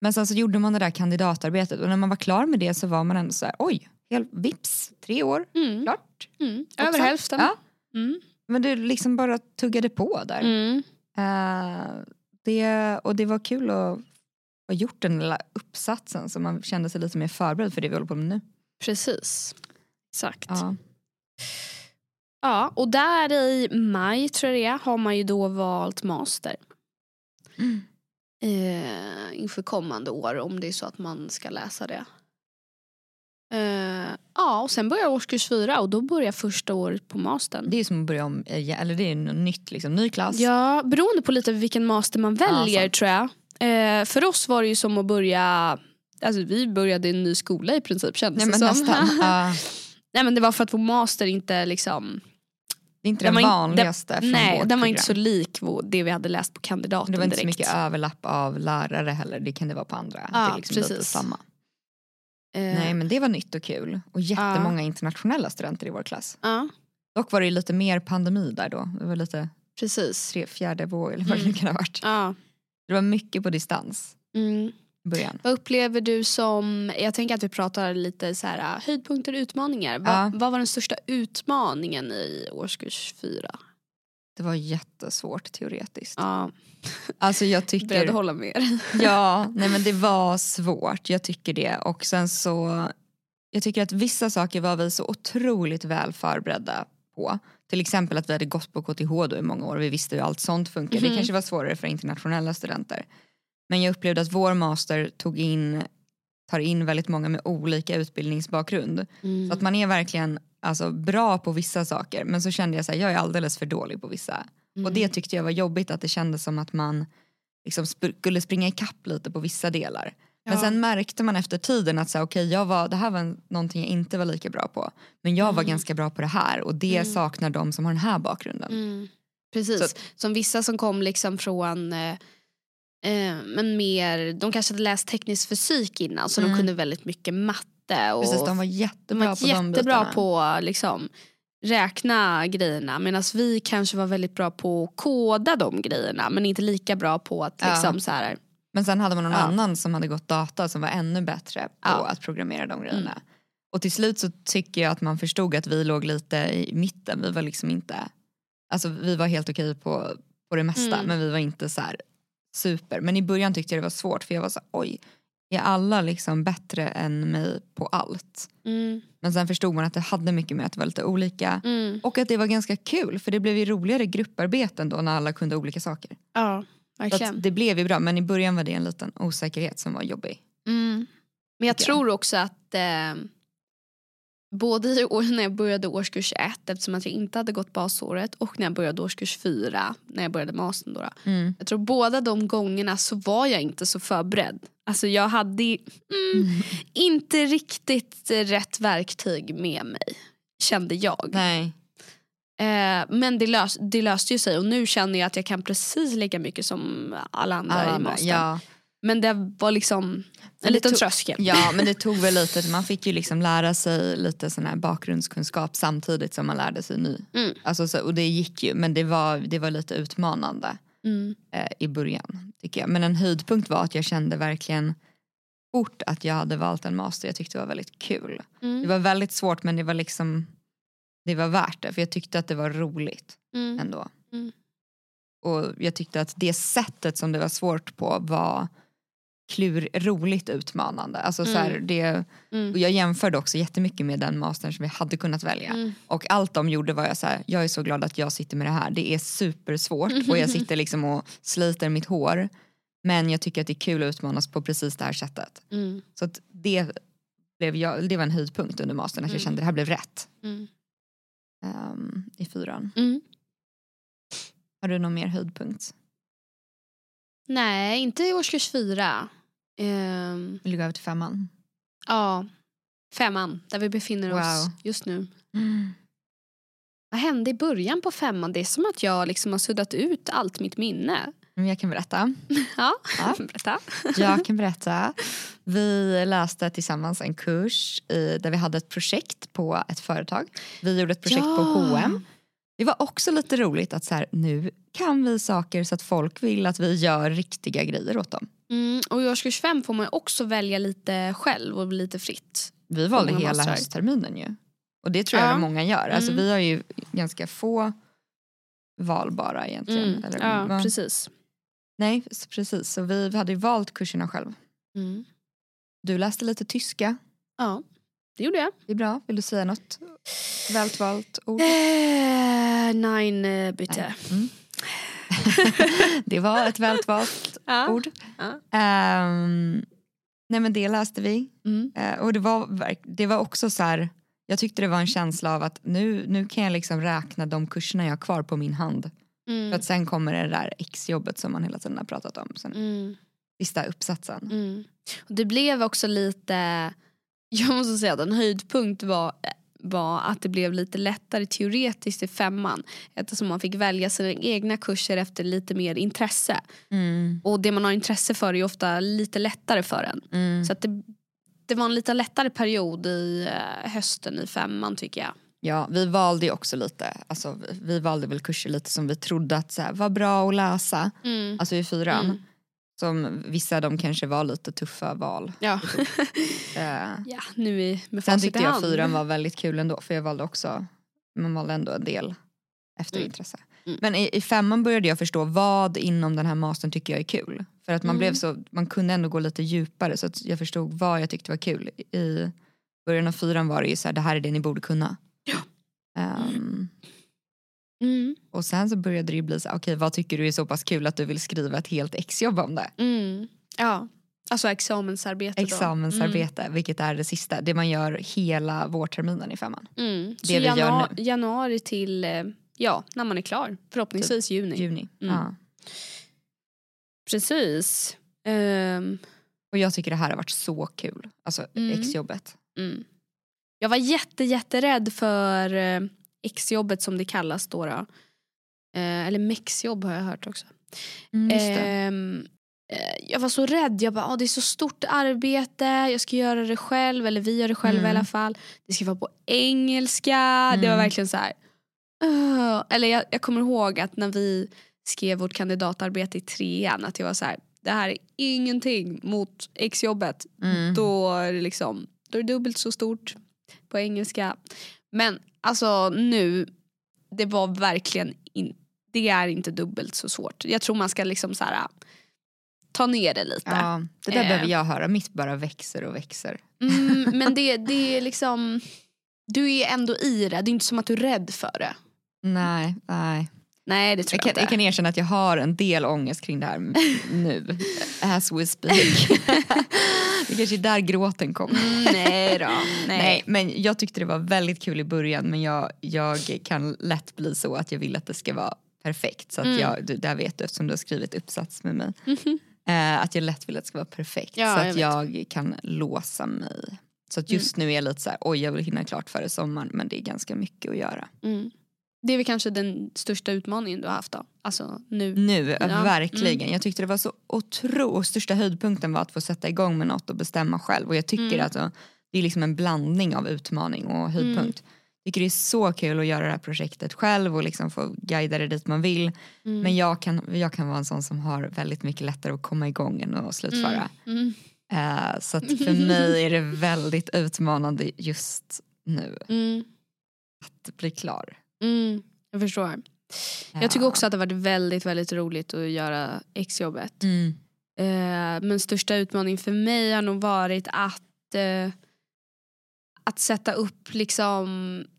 [SPEAKER 2] Men sen så gjorde man det där kandidatarbetet och när man var klar med det så var man ändå så här, oj, helt vips, tre år,
[SPEAKER 1] mm.
[SPEAKER 2] klart.
[SPEAKER 1] Mm.
[SPEAKER 2] Och
[SPEAKER 1] Över
[SPEAKER 2] så-
[SPEAKER 1] hälften.
[SPEAKER 2] Ja,
[SPEAKER 1] Mm.
[SPEAKER 2] men du liksom bara tuggade på där.
[SPEAKER 1] Mm.
[SPEAKER 2] Eh, det, och det var kul att ha gjort den lilla uppsatsen så man kände sig lite mer förberedd för det vi håller på med nu.
[SPEAKER 1] Precis. Exakt.
[SPEAKER 2] Ja.
[SPEAKER 1] Ja, och där i maj tror jag det är, har man ju då valt master.
[SPEAKER 2] Mm.
[SPEAKER 1] Eh, inför kommande år om det är så att man ska läsa det. Eh, ja, och sen börjar årskurs fyra och då börjar första året på mastern.
[SPEAKER 2] Det är ju som att börja om, igen, eller det är något nytt, liksom, ny klass.
[SPEAKER 1] Ja, beroende på lite vilken master man väljer
[SPEAKER 2] sant.
[SPEAKER 1] tror jag. Eh, för oss var det ju som att börja, alltså vi började i en ny skola i princip kändes
[SPEAKER 2] Nej, men
[SPEAKER 1] det som.
[SPEAKER 2] nästan. Ja,
[SPEAKER 1] Nej men det var för att vår master inte liksom,
[SPEAKER 2] det är inte
[SPEAKER 1] Den
[SPEAKER 2] den,
[SPEAKER 1] var in- den-
[SPEAKER 2] vanligaste från
[SPEAKER 1] nej
[SPEAKER 2] vårt
[SPEAKER 1] den var inte så
[SPEAKER 2] program.
[SPEAKER 1] lik vår, det vi hade läst på kandidaten
[SPEAKER 2] Det var inte
[SPEAKER 1] direkt.
[SPEAKER 2] så mycket överlapp av lärare heller, det kan det vara på andra.
[SPEAKER 1] Ja,
[SPEAKER 2] det är liksom lite
[SPEAKER 1] precis.
[SPEAKER 2] samma.
[SPEAKER 1] Eh,
[SPEAKER 2] Nej men det var nytt och kul och jättemånga internationella studenter i vår klass.
[SPEAKER 1] Ja,
[SPEAKER 2] Dock var det ju lite mer pandemi där då, det var lite
[SPEAKER 1] precis.
[SPEAKER 2] tre, fjärde våg eller vad det
[SPEAKER 1] Mm.
[SPEAKER 2] nu kan ha varit.
[SPEAKER 1] Ja.
[SPEAKER 2] Det var mycket på distans
[SPEAKER 1] Mm.
[SPEAKER 2] i början.
[SPEAKER 1] Vad upplever du som, jag tänker att vi pratar lite så här äh, höjdpunkter och utmaningar. Va,
[SPEAKER 2] Ja.
[SPEAKER 1] Vad var den största utmaningen i årskurs fyra?
[SPEAKER 2] Det var jättesvårt teoretiskt.
[SPEAKER 1] Ja,
[SPEAKER 2] Alltså jag
[SPEAKER 1] beredd
[SPEAKER 2] tycker
[SPEAKER 1] att hålla med dig.
[SPEAKER 2] Ja, nej men det var svårt. Jag tycker det. Och sen så, jag tycker att vissa saker var vi så otroligt väl förberedda på. Till exempel att vi hade gått på KTH då i många år och vi visste hur allt sånt funkar.
[SPEAKER 1] Mhm.
[SPEAKER 2] Det kanske var svårare för internationella studenter. Men jag upplevde att vår master tog in, tar in väldigt många med olika utbildningsbakgrund. Så att man är verkligen alltså, bra på vissa saker men så kände jag att jag är alldeles för dålig på vissa.
[SPEAKER 1] Mm.
[SPEAKER 2] Och det tyckte jag var jobbigt att det kändes som att man liksom sp- skulle springa ikapp lite på vissa delar. Men
[SPEAKER 1] Ja.
[SPEAKER 2] sen märkte man efter tiden att så här, okej, jag var, det här var en- någonting jag inte var lika bra på. Men jag var
[SPEAKER 1] Mm.
[SPEAKER 2] ganska bra på det här och det
[SPEAKER 1] Mm.
[SPEAKER 2] saknar de som har den här bakgrunden.
[SPEAKER 1] Mm. Precis,
[SPEAKER 2] Så
[SPEAKER 1] som vissa som kom liksom från eh, eh, men mer, de kanske hade läst teknisk fysik innan så de
[SPEAKER 2] Mm.
[SPEAKER 1] kunde väldigt mycket matte och
[SPEAKER 2] Precis, de var
[SPEAKER 1] De
[SPEAKER 2] jättebra
[SPEAKER 1] var
[SPEAKER 2] på de
[SPEAKER 1] jättebra
[SPEAKER 2] bitarna.
[SPEAKER 1] på liksom räkna grejerna medan vi kanske var väldigt bra på att koda de grejerna men inte lika bra på att
[SPEAKER 2] Ja.
[SPEAKER 1] liksom så här,
[SPEAKER 2] Men sen hade man någon
[SPEAKER 1] Ja.
[SPEAKER 2] annan som hade gått data som var ännu bättre på
[SPEAKER 1] Ja. Mm.
[SPEAKER 2] att programmera de grejerna. Och till slut så tycker jag att man förstod att vi låg lite i mitten. Vi var liksom inte, alltså vi var helt okej på, på det mesta
[SPEAKER 1] Mm.
[SPEAKER 2] men vi var inte så här super. Men i början tyckte jag det var svårt för jag var så här, oj, är alla liksom bättre än mig på allt?
[SPEAKER 1] mm,
[SPEAKER 2] Men sen förstod man att det hade mycket med att det var lite olika.
[SPEAKER 1] mm,
[SPEAKER 2] Och att det var ganska kul för det blev ju roligare grupparbeten då när alla kunde olika saker.
[SPEAKER 1] ja
[SPEAKER 2] Så att
[SPEAKER 1] verkligen.
[SPEAKER 2] det blev ju bra men i början var det en liten osäkerhet som var jobbig.
[SPEAKER 1] Mm. Men jag
[SPEAKER 2] tycker jag.
[SPEAKER 1] tror också att eh, både i år, när jag började årskurs 1 eftersom att jag inte hade gått basåret och när jag började årskurs 4 när jag började mastern. Då, då.
[SPEAKER 2] Mm.
[SPEAKER 1] Jag tror båda de gångerna så var jag inte så förberedd. Alltså jag hade mm, inte riktigt eh, rätt verktyg med mig kände jag.
[SPEAKER 2] Nej.
[SPEAKER 1] Eh, men det, lös, det löste ju sig och nu känner jag att jag kan precis lika mycket som alla andra i
[SPEAKER 2] Alla,
[SPEAKER 1] mastern.
[SPEAKER 2] ja.
[SPEAKER 1] Men det var liksom
[SPEAKER 2] det
[SPEAKER 1] en liten
[SPEAKER 2] tog-
[SPEAKER 1] tröskel.
[SPEAKER 2] ja men det tog väl lite, man fick ju liksom lära sig lite sån här bakgrundskunskap samtidigt som man lärde sig ny.
[SPEAKER 1] Mm.
[SPEAKER 2] Alltså, så, och det gick ju men det var, det var lite utmanande.
[SPEAKER 1] Mm.
[SPEAKER 2] eh, i början. tycker jag. Men en höjdpunkt var att jag kände verkligen fort att jag hade valt en master. Jag tyckte det var väldigt kul. Det
[SPEAKER 1] Mm.
[SPEAKER 2] var väldigt svårt men det var liksom det var värt det för jag tyckte att det var roligt
[SPEAKER 1] Mm.
[SPEAKER 2] ändå.
[SPEAKER 1] Mm.
[SPEAKER 2] Och jag tyckte att det sättet som det var svårt på var klur, roligt utmanande. Alltså så här,
[SPEAKER 1] Mm.
[SPEAKER 2] det,
[SPEAKER 1] Mm.
[SPEAKER 2] och jag jämförde också jättemycket med den mastern som jag hade kunnat välja.
[SPEAKER 1] Mm.
[SPEAKER 2] Och allt de gjorde var jag så här, jag är så glad att jag sitter med det här. Det är supersvårt och jag sitter liksom och sliter mitt hår. Men jag tycker att det är kul att utmanas på precis det här sättet.
[SPEAKER 1] Mm.
[SPEAKER 2] Så att det, blev jag, det var en höjdpunkt under mastern, att jag
[SPEAKER 1] Mm.
[SPEAKER 2] kände att det här blev rätt
[SPEAKER 1] Mm.
[SPEAKER 2] ehm, i fyran.
[SPEAKER 1] Mm.
[SPEAKER 2] Har du någon mer höjdpunkt?
[SPEAKER 1] Nej, inte i årskurs fyra. Ehm,
[SPEAKER 2] Vill du gå över till femman?
[SPEAKER 1] ja, femman, där vi befinner oss
[SPEAKER 2] Wow.
[SPEAKER 1] just nu.
[SPEAKER 2] Mm.
[SPEAKER 1] Vad hände i början på femman? Det är som att jag liksom har suddat ut allt mitt minne.
[SPEAKER 2] Men jag kan berätta.
[SPEAKER 1] Ja,
[SPEAKER 2] Ja.
[SPEAKER 1] berätta.
[SPEAKER 2] Jag kan berätta. Vi läste tillsammans en kurs i, där vi hade ett projekt på ett företag. Vi gjorde ett projekt på
[SPEAKER 1] Ja.
[SPEAKER 2] H&M Det var också lite roligt att så här, nu kan vi saker så att folk vill att vi gör riktiga grejer åt dem.
[SPEAKER 1] Mm, och i årskurs fem får man ju också välja lite själv och lite fritt.
[SPEAKER 2] Vi valde
[SPEAKER 1] Många
[SPEAKER 2] hela
[SPEAKER 1] massor.
[SPEAKER 2] höstterminen ju. Och det tror jag
[SPEAKER 1] Ja.
[SPEAKER 2] många gör. Alltså,
[SPEAKER 1] Mm.
[SPEAKER 2] Vi har ju ganska få valbara egentligen.
[SPEAKER 1] Mm,
[SPEAKER 2] Eller,
[SPEAKER 1] ja,
[SPEAKER 2] va?
[SPEAKER 1] precis.
[SPEAKER 2] Nej, s- precis. Så vi vi hade ju valt kurserna själv.
[SPEAKER 1] Mm.
[SPEAKER 2] Du läste lite tyska.
[SPEAKER 1] Ja, det gjorde jag.
[SPEAKER 2] Det är bra. Vill du säga något vältvalt ord?
[SPEAKER 1] Eh, nein, eh, bitte.
[SPEAKER 2] Mm. det var ett vältvalt
[SPEAKER 1] Ja.
[SPEAKER 2] ord.
[SPEAKER 1] Ja.
[SPEAKER 2] Ehm, nej men det läste vi.
[SPEAKER 1] Mm.
[SPEAKER 2] Eh, och det var, verk- det var också så här, jag tyckte det var en känsla av att nu, nu kan jag liksom räkna de kurserna jag har kvar på min hand. För
[SPEAKER 1] Mm.
[SPEAKER 2] att sen kommer det där exjobbet som man hela tiden har pratat om sen
[SPEAKER 1] Mm.
[SPEAKER 2] sista uppsatsen.
[SPEAKER 1] Mm. Och det blev också lite, jag måste säga att en höjdpunkt var, eh, var att det blev lite lättare teoretiskt i femman eftersom man fick välja sina egna kurser efter lite mer intresse. Och det man har intresse för är ju ofta lite lättare för en.
[SPEAKER 2] Mm.
[SPEAKER 1] Så att det, det var en lite lättare period i eh, hösten i femman tycker jag.
[SPEAKER 2] Ja, vi valde ju också lite, alltså, vi- vi valde väl kurser lite som vi trodde att så här, var bra att läsa,
[SPEAKER 1] Mm.
[SPEAKER 2] alltså i fyran.
[SPEAKER 1] Mm.
[SPEAKER 2] Som vissa de kanske var lite tuffa val.
[SPEAKER 1] Ja.
[SPEAKER 2] Eh,
[SPEAKER 1] ja, nu i, med
[SPEAKER 2] Sen
[SPEAKER 1] facit i
[SPEAKER 2] tyckte jag
[SPEAKER 1] hand.
[SPEAKER 2] fyran var väldigt kul ändå för jag valde också, man valde ändå en del efter
[SPEAKER 1] Mm.
[SPEAKER 2] intresse.
[SPEAKER 1] Mm.
[SPEAKER 2] Men i, i femman började jag förstå vad inom den här mastern tycker jag är kul. För att man
[SPEAKER 1] Mm.
[SPEAKER 2] blev så, man kunde ändå gå lite djupare så att jag förstod vad jag tyckte var kul. I början av fyran var det ju så här, det här är det ni borde kunna. Ehm,
[SPEAKER 1] Mm.
[SPEAKER 2] och sen så började det ju bli så här, okej vad tycker du är så pass kul att du vill skriva ett helt exjobb om det?
[SPEAKER 1] Mm. Ja, alltså examensarbete då.
[SPEAKER 2] Examensarbete,
[SPEAKER 1] Mm.
[SPEAKER 2] vilket är det sista, det man gör hela vårterminen i femman.
[SPEAKER 1] Mm.
[SPEAKER 2] Det
[SPEAKER 1] så
[SPEAKER 2] vi gör
[SPEAKER 1] januari, januari till eh, ja, när man är klar. Förhoppningsvis
[SPEAKER 2] Typ
[SPEAKER 1] juni.
[SPEAKER 2] Juni.
[SPEAKER 1] Mm.
[SPEAKER 2] Ja.
[SPEAKER 1] Precis. Ehm,
[SPEAKER 2] Och jag tycker det här har varit så kul. Alltså
[SPEAKER 1] Mm.
[SPEAKER 2] exjobbet.
[SPEAKER 1] mm. Jag var jätte, jätterädd för eh, exjobbet som det kallas då. då. Eh, eller mexjobb har jag hört också. Mm. Ehm, eh, jag var så rädd. Jag bara, ah, det är så stort arbete. Jag ska göra det själv. Eller vi gör det själva
[SPEAKER 2] Mm.
[SPEAKER 1] i alla fall. Det ska vara på engelska. Det var
[SPEAKER 2] Mm.
[SPEAKER 1] verkligen så här. "Åh." eller jag, jag kommer ihåg att när vi skrev vårt kandidatarbete i trean. Att jag var så här. Det här är ingenting mot exjobbet.
[SPEAKER 2] Mm.
[SPEAKER 1] Då är det liksom. Då är det dubbelt så stort på engelska. Men alltså nu. Det var verkligen inte. Det är inte dubbelt så svårt. Jag tror man ska liksom så här. Ta ner det lite.
[SPEAKER 2] Ja, det där
[SPEAKER 1] Eh.
[SPEAKER 2] behöver jag höra. Mitt bara växer och växer.
[SPEAKER 1] Mm, men det, det är liksom. Du är ändå i det. Det är inte som att du är rädd för det.
[SPEAKER 2] Nej, nej.
[SPEAKER 1] Nej det tror
[SPEAKER 2] Jag
[SPEAKER 1] jag,
[SPEAKER 2] kan, jag
[SPEAKER 1] inte.
[SPEAKER 2] kan erkänna att jag har en del ångest kring det här nu. As we speak. Det kanske är där gråten kom.
[SPEAKER 1] Mm, nej då. Nej.
[SPEAKER 2] Nej, men jag tyckte det var väldigt kul i början men jag, jag kan lätt bli så att jag vill att det ska vara perfekt. Så att
[SPEAKER 1] Mm.
[SPEAKER 2] jag, du, där vet du eftersom du har skrivit uppsats med mig.
[SPEAKER 1] Mhm.
[SPEAKER 2] Eh, att jag lätt vill att det ska vara perfekt
[SPEAKER 1] Ja, jag
[SPEAKER 2] så att
[SPEAKER 1] vet. Mm.
[SPEAKER 2] jag, kan låsa mig. Så att just nu är jag lite så här, oj jag vill hinna klart före sommaren men det är ganska mycket att göra.
[SPEAKER 1] Mm. Det är väl kanske den största utmaningen du har haft då? Alltså nu.
[SPEAKER 2] Nu,
[SPEAKER 1] Ja,
[SPEAKER 2] verkligen. Jag tyckte det var så otroligt, största höjdpunkten var att få sätta igång med något och bestämma själv och jag tycker
[SPEAKER 1] Mm.
[SPEAKER 2] att eh, det är liksom en blandning av utmaning och höjdpunkt.
[SPEAKER 1] Mm.
[SPEAKER 2] Jag tycker det är så kul att göra det här projektet själv och liksom få guida det dit man vill.
[SPEAKER 1] Mm.
[SPEAKER 2] Men jag kan, jag kan vara en sån som har väldigt mycket lättare att komma igång än att slutföra.
[SPEAKER 1] Mm.
[SPEAKER 2] Eh, så att för mig är det väldigt utmanande just nu
[SPEAKER 1] Mm.
[SPEAKER 2] att bli klar.
[SPEAKER 1] Mm. Jag förstår. Jag tycker också att det har varit väldigt, väldigt roligt att göra exjobbet.
[SPEAKER 2] Mm.
[SPEAKER 1] Eh, men största utmaningen för mig har nog varit att, eh, att sätta upp, liksom,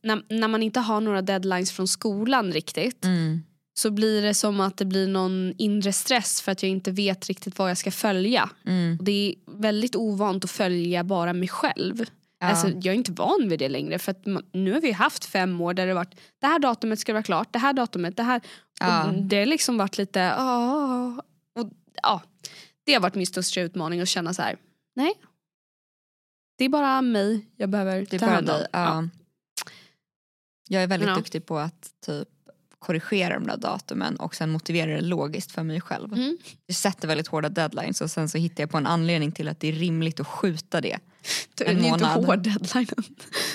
[SPEAKER 1] när, när man inte har några deadlines från skolan riktigt
[SPEAKER 2] Mm.
[SPEAKER 1] så blir det som att det blir någon inre stress för att jag inte vet riktigt vad jag ska följa.
[SPEAKER 2] Mm.
[SPEAKER 1] Och det är väldigt ovant att följa bara mig själv.
[SPEAKER 2] Ja.
[SPEAKER 1] Alltså, jag är inte van vid det längre för att man, nu har vi haft fem år där det har varit det här datumet ska vara klart, det här datumet, det här.
[SPEAKER 2] Ja.
[SPEAKER 1] Och det har liksom varit lite, "Ah." och, ja. Det har varit min största utmaning att känna så här, nej. Det är bara mig jag behöver
[SPEAKER 2] Det är
[SPEAKER 1] ta
[SPEAKER 2] bara
[SPEAKER 1] hand om.
[SPEAKER 2] dig. Ja. Jag är väldigt
[SPEAKER 1] Ja.
[SPEAKER 2] duktig på att typ korrigera de där datumen och sen motivera det logiskt för mig själv.
[SPEAKER 1] Mm.
[SPEAKER 2] Jag sätter väldigt hårda deadlines och sen så hittar jag på en anledning till att det är rimligt att skjuta det.
[SPEAKER 1] Det
[SPEAKER 2] en
[SPEAKER 1] är inte
[SPEAKER 2] månad.
[SPEAKER 1] hård deadline.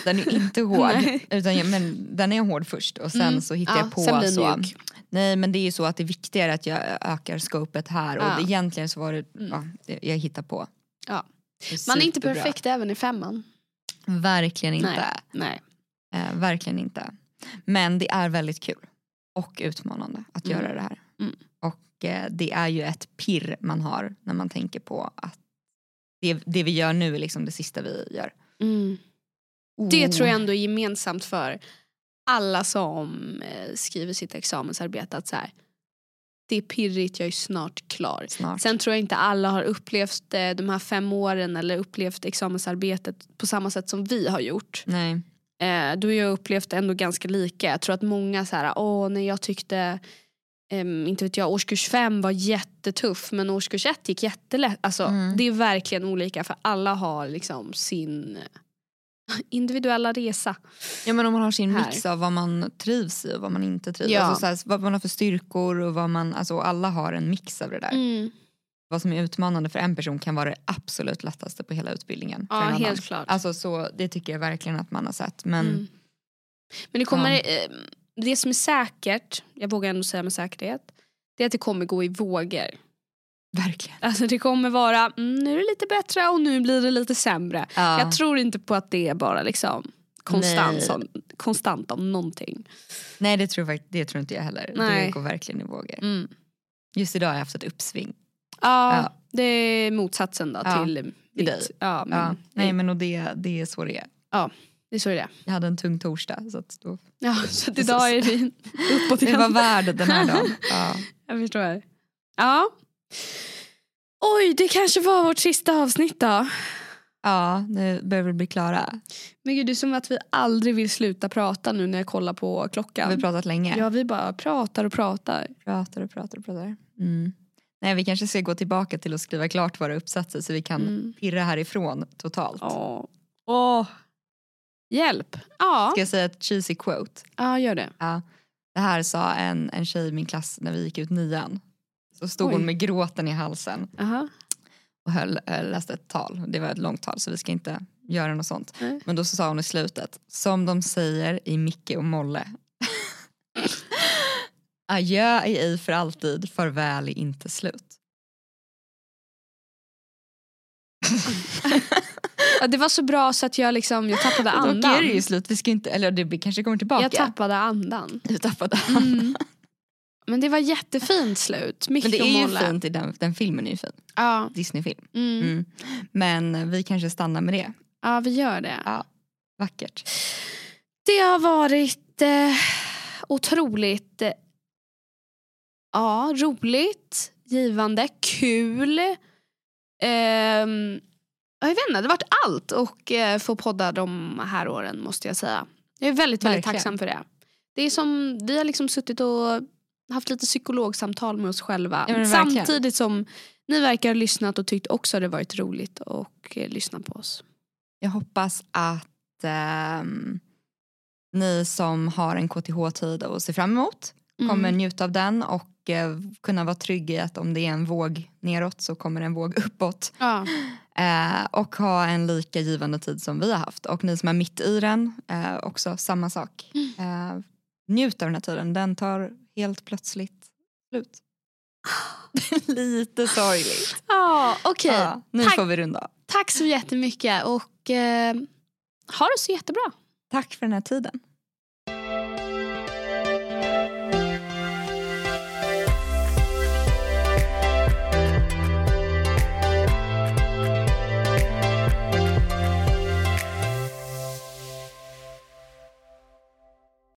[SPEAKER 2] Den är inte hård,
[SPEAKER 1] Nej.
[SPEAKER 2] utan jag, men den är hård först och sen
[SPEAKER 1] Mm.
[SPEAKER 2] så hittar
[SPEAKER 1] Ja,
[SPEAKER 2] jag på
[SPEAKER 1] sen blir den
[SPEAKER 2] så.
[SPEAKER 1] mjuk.
[SPEAKER 2] Nej men det är ju så att det är viktigare att jag ökar scopet här och
[SPEAKER 1] Ja. Mm.
[SPEAKER 2] det, egentligen så var det, ja, det- jag hittar på.
[SPEAKER 1] Ja.
[SPEAKER 2] Det är
[SPEAKER 1] Man är inte
[SPEAKER 2] superbra.
[SPEAKER 1] perfekt även i femman.
[SPEAKER 2] Verkligen inte.
[SPEAKER 1] Nej. Nej.
[SPEAKER 2] Eh, verkligen inte. Men det är väldigt kul och utmanande att
[SPEAKER 1] Mm.
[SPEAKER 2] göra det här.
[SPEAKER 1] Mm.
[SPEAKER 2] Och eh, det är ju ett pirr man har när man tänker på att det, det vi gör nu är liksom det sista vi gör.
[SPEAKER 1] Mm. Det
[SPEAKER 2] Oh.
[SPEAKER 1] tror jag ändå är gemensamt för alla som eh, skriver sitt examensarbete. Att så här, det är pirrigt, jag är snart klar.
[SPEAKER 2] Oh, Snart.
[SPEAKER 1] Sen tror jag inte alla har upplevt eh, de här fem åren eller upplevt examensarbetet på samma sätt som vi har gjort.
[SPEAKER 2] Nej.
[SPEAKER 1] Eh, du och jag har upplevt ändå ganska lika. Jag tror att många så här, åh nej jag tyckte ehm, inte vet jag, årskurs fem var jättetuff men årskurs ett gick jättelätt. Alltså,
[SPEAKER 2] Mm.
[SPEAKER 1] Det är verkligen olika för alla har liksom sin eh, individuella resa.
[SPEAKER 2] Ja men om man har sin
[SPEAKER 1] Här.
[SPEAKER 2] mix av vad man trivs i och vad man inte trivs i.
[SPEAKER 1] Ja.
[SPEAKER 2] Alltså, så här, vad man har för styrkor och vad man, alltså alla har en mix av det där.
[SPEAKER 1] Mm.
[SPEAKER 2] Vad som är utmanande för en person kan vara det absolut lättaste på hela utbildningen.
[SPEAKER 1] Ja,
[SPEAKER 2] för en annan.
[SPEAKER 1] helt klart.
[SPEAKER 2] Alltså så det tycker jag verkligen att man har sett. Men
[SPEAKER 1] Mm. Men det kommer, eh, det som är säkert, jag vågar ändå säga med säkerhet, det är att det kommer gå i vågor.
[SPEAKER 2] verkligen.
[SPEAKER 1] Alltså det kommer vara, mm, nu är det lite bättre och nu blir det lite sämre.
[SPEAKER 2] Ja.
[SPEAKER 1] Jag tror inte på att det är bara liksom konstant,
[SPEAKER 2] Nej.
[SPEAKER 1] som, konstant om någonting.
[SPEAKER 2] Nej det tror, jag, fakt- det tror inte jag heller.
[SPEAKER 1] Nej.
[SPEAKER 2] Det går verkligen i vågor.
[SPEAKER 1] Mm.
[SPEAKER 2] Just idag har jag haft ett uppsving.
[SPEAKER 1] Ja,
[SPEAKER 2] Ja.
[SPEAKER 1] det är motsatsen då
[SPEAKER 2] Ja,
[SPEAKER 1] till
[SPEAKER 2] till
[SPEAKER 1] mitt-
[SPEAKER 2] dig.
[SPEAKER 1] Ja, men,
[SPEAKER 2] Ja. Nej men och det, det är så det är.
[SPEAKER 1] Det är så det är.
[SPEAKER 2] Jag hade en tung torsdag så att då,
[SPEAKER 1] Ja, så att idag är det uppåt
[SPEAKER 2] det
[SPEAKER 1] igen.
[SPEAKER 2] var värd den här dagen. Ja.
[SPEAKER 1] Jag förstår. Ja. Oj, det kanske var vårt sista avsnitt då.
[SPEAKER 2] ja nu börjar vi bli klara.
[SPEAKER 1] Men gud, det är som att vi aldrig vill sluta prata nu när jag kollar på
[SPEAKER 2] Har
[SPEAKER 1] klockan.
[SPEAKER 2] vi pratat länge?
[SPEAKER 1] ja, vi bara pratar och pratar.
[SPEAKER 2] Pratar och pratar och pratar. Mm. Nej vi kanske ska gå tillbaka till att skriva klart våra uppsatser så vi kan
[SPEAKER 1] Mm.
[SPEAKER 2] pirra härifrån totalt.
[SPEAKER 1] Åh. Åh. Hjälp. Ja.
[SPEAKER 2] Ska jag säga ett cheesy quote?
[SPEAKER 1] ja, gör det.
[SPEAKER 2] Ja. Det här sa en, en tjej i min klass när vi gick ut nian. Så stod
[SPEAKER 1] Oj.
[SPEAKER 2] hon med gråten i halsen.
[SPEAKER 1] Aha.
[SPEAKER 2] och höll, eh, läste ett tal. Det var ett långt tal så vi ska inte göra något sånt.
[SPEAKER 1] Nej.
[SPEAKER 2] Men då så sa hon i slutet, som de säger i Micke och Molle. Adjö är ej för alltid, farväl är inte slut.
[SPEAKER 1] Ja, det var så bra så att jag, liksom, jag tappade
[SPEAKER 2] Dock är det ju
[SPEAKER 1] andan.
[SPEAKER 2] slut, vi ska inte, eller det blir- kanske kommer tillbaka.
[SPEAKER 1] Jag tappade andan. Mm.
[SPEAKER 2] Du tappade.
[SPEAKER 1] Men det var jättefint slut.
[SPEAKER 2] Men det
[SPEAKER 1] Mycket
[SPEAKER 2] är ju
[SPEAKER 1] måla.
[SPEAKER 2] fint i den, den filmen, är ju fin.
[SPEAKER 1] Ja.
[SPEAKER 2] Disneyfilm.
[SPEAKER 1] Mm.
[SPEAKER 2] Mm. Men vi kanske stannar med det.
[SPEAKER 1] ja, vi gör det.
[SPEAKER 2] Vackert.
[SPEAKER 1] Det har varit eh, otroligt eh, ja, roligt, givande, kul. Ehm, jag vet inte, det har varit allt och eh, få podda de här åren måste jag säga. Jag är väldigt, väldigt
[SPEAKER 2] Verkligen.
[SPEAKER 1] tacksam för det. Det är som, vi har liksom suttit och haft lite psykologsamtal med oss själva.
[SPEAKER 2] Ja, men verkligen.
[SPEAKER 1] Samtidigt som ni verkar ha lyssnat och tyckt också har det varit roligt och eh, lyssna på oss.
[SPEAKER 2] Jag hoppas att ehm, ni som har en KTH-tid att se fram emot
[SPEAKER 1] Mm.
[SPEAKER 2] kommer njuta av den och eh, kunna vara trygg i att om det är en våg neråt så kommer det en våg uppåt.
[SPEAKER 1] Ja.
[SPEAKER 2] Eh, och ha en lika givande tid som vi har haft. Och ni som är mitt i den, eh, också samma sak.
[SPEAKER 1] Mm.
[SPEAKER 2] Eh, njut av den här tiden, den tar helt plötsligt slut. Lite sorgligt.
[SPEAKER 1] Ja, okej.
[SPEAKER 2] Ja, nu
[SPEAKER 1] Tack.
[SPEAKER 2] får vi runda av.
[SPEAKER 1] Tack så jättemycket och eh, ha det så jättebra.
[SPEAKER 2] Tack för den här tiden.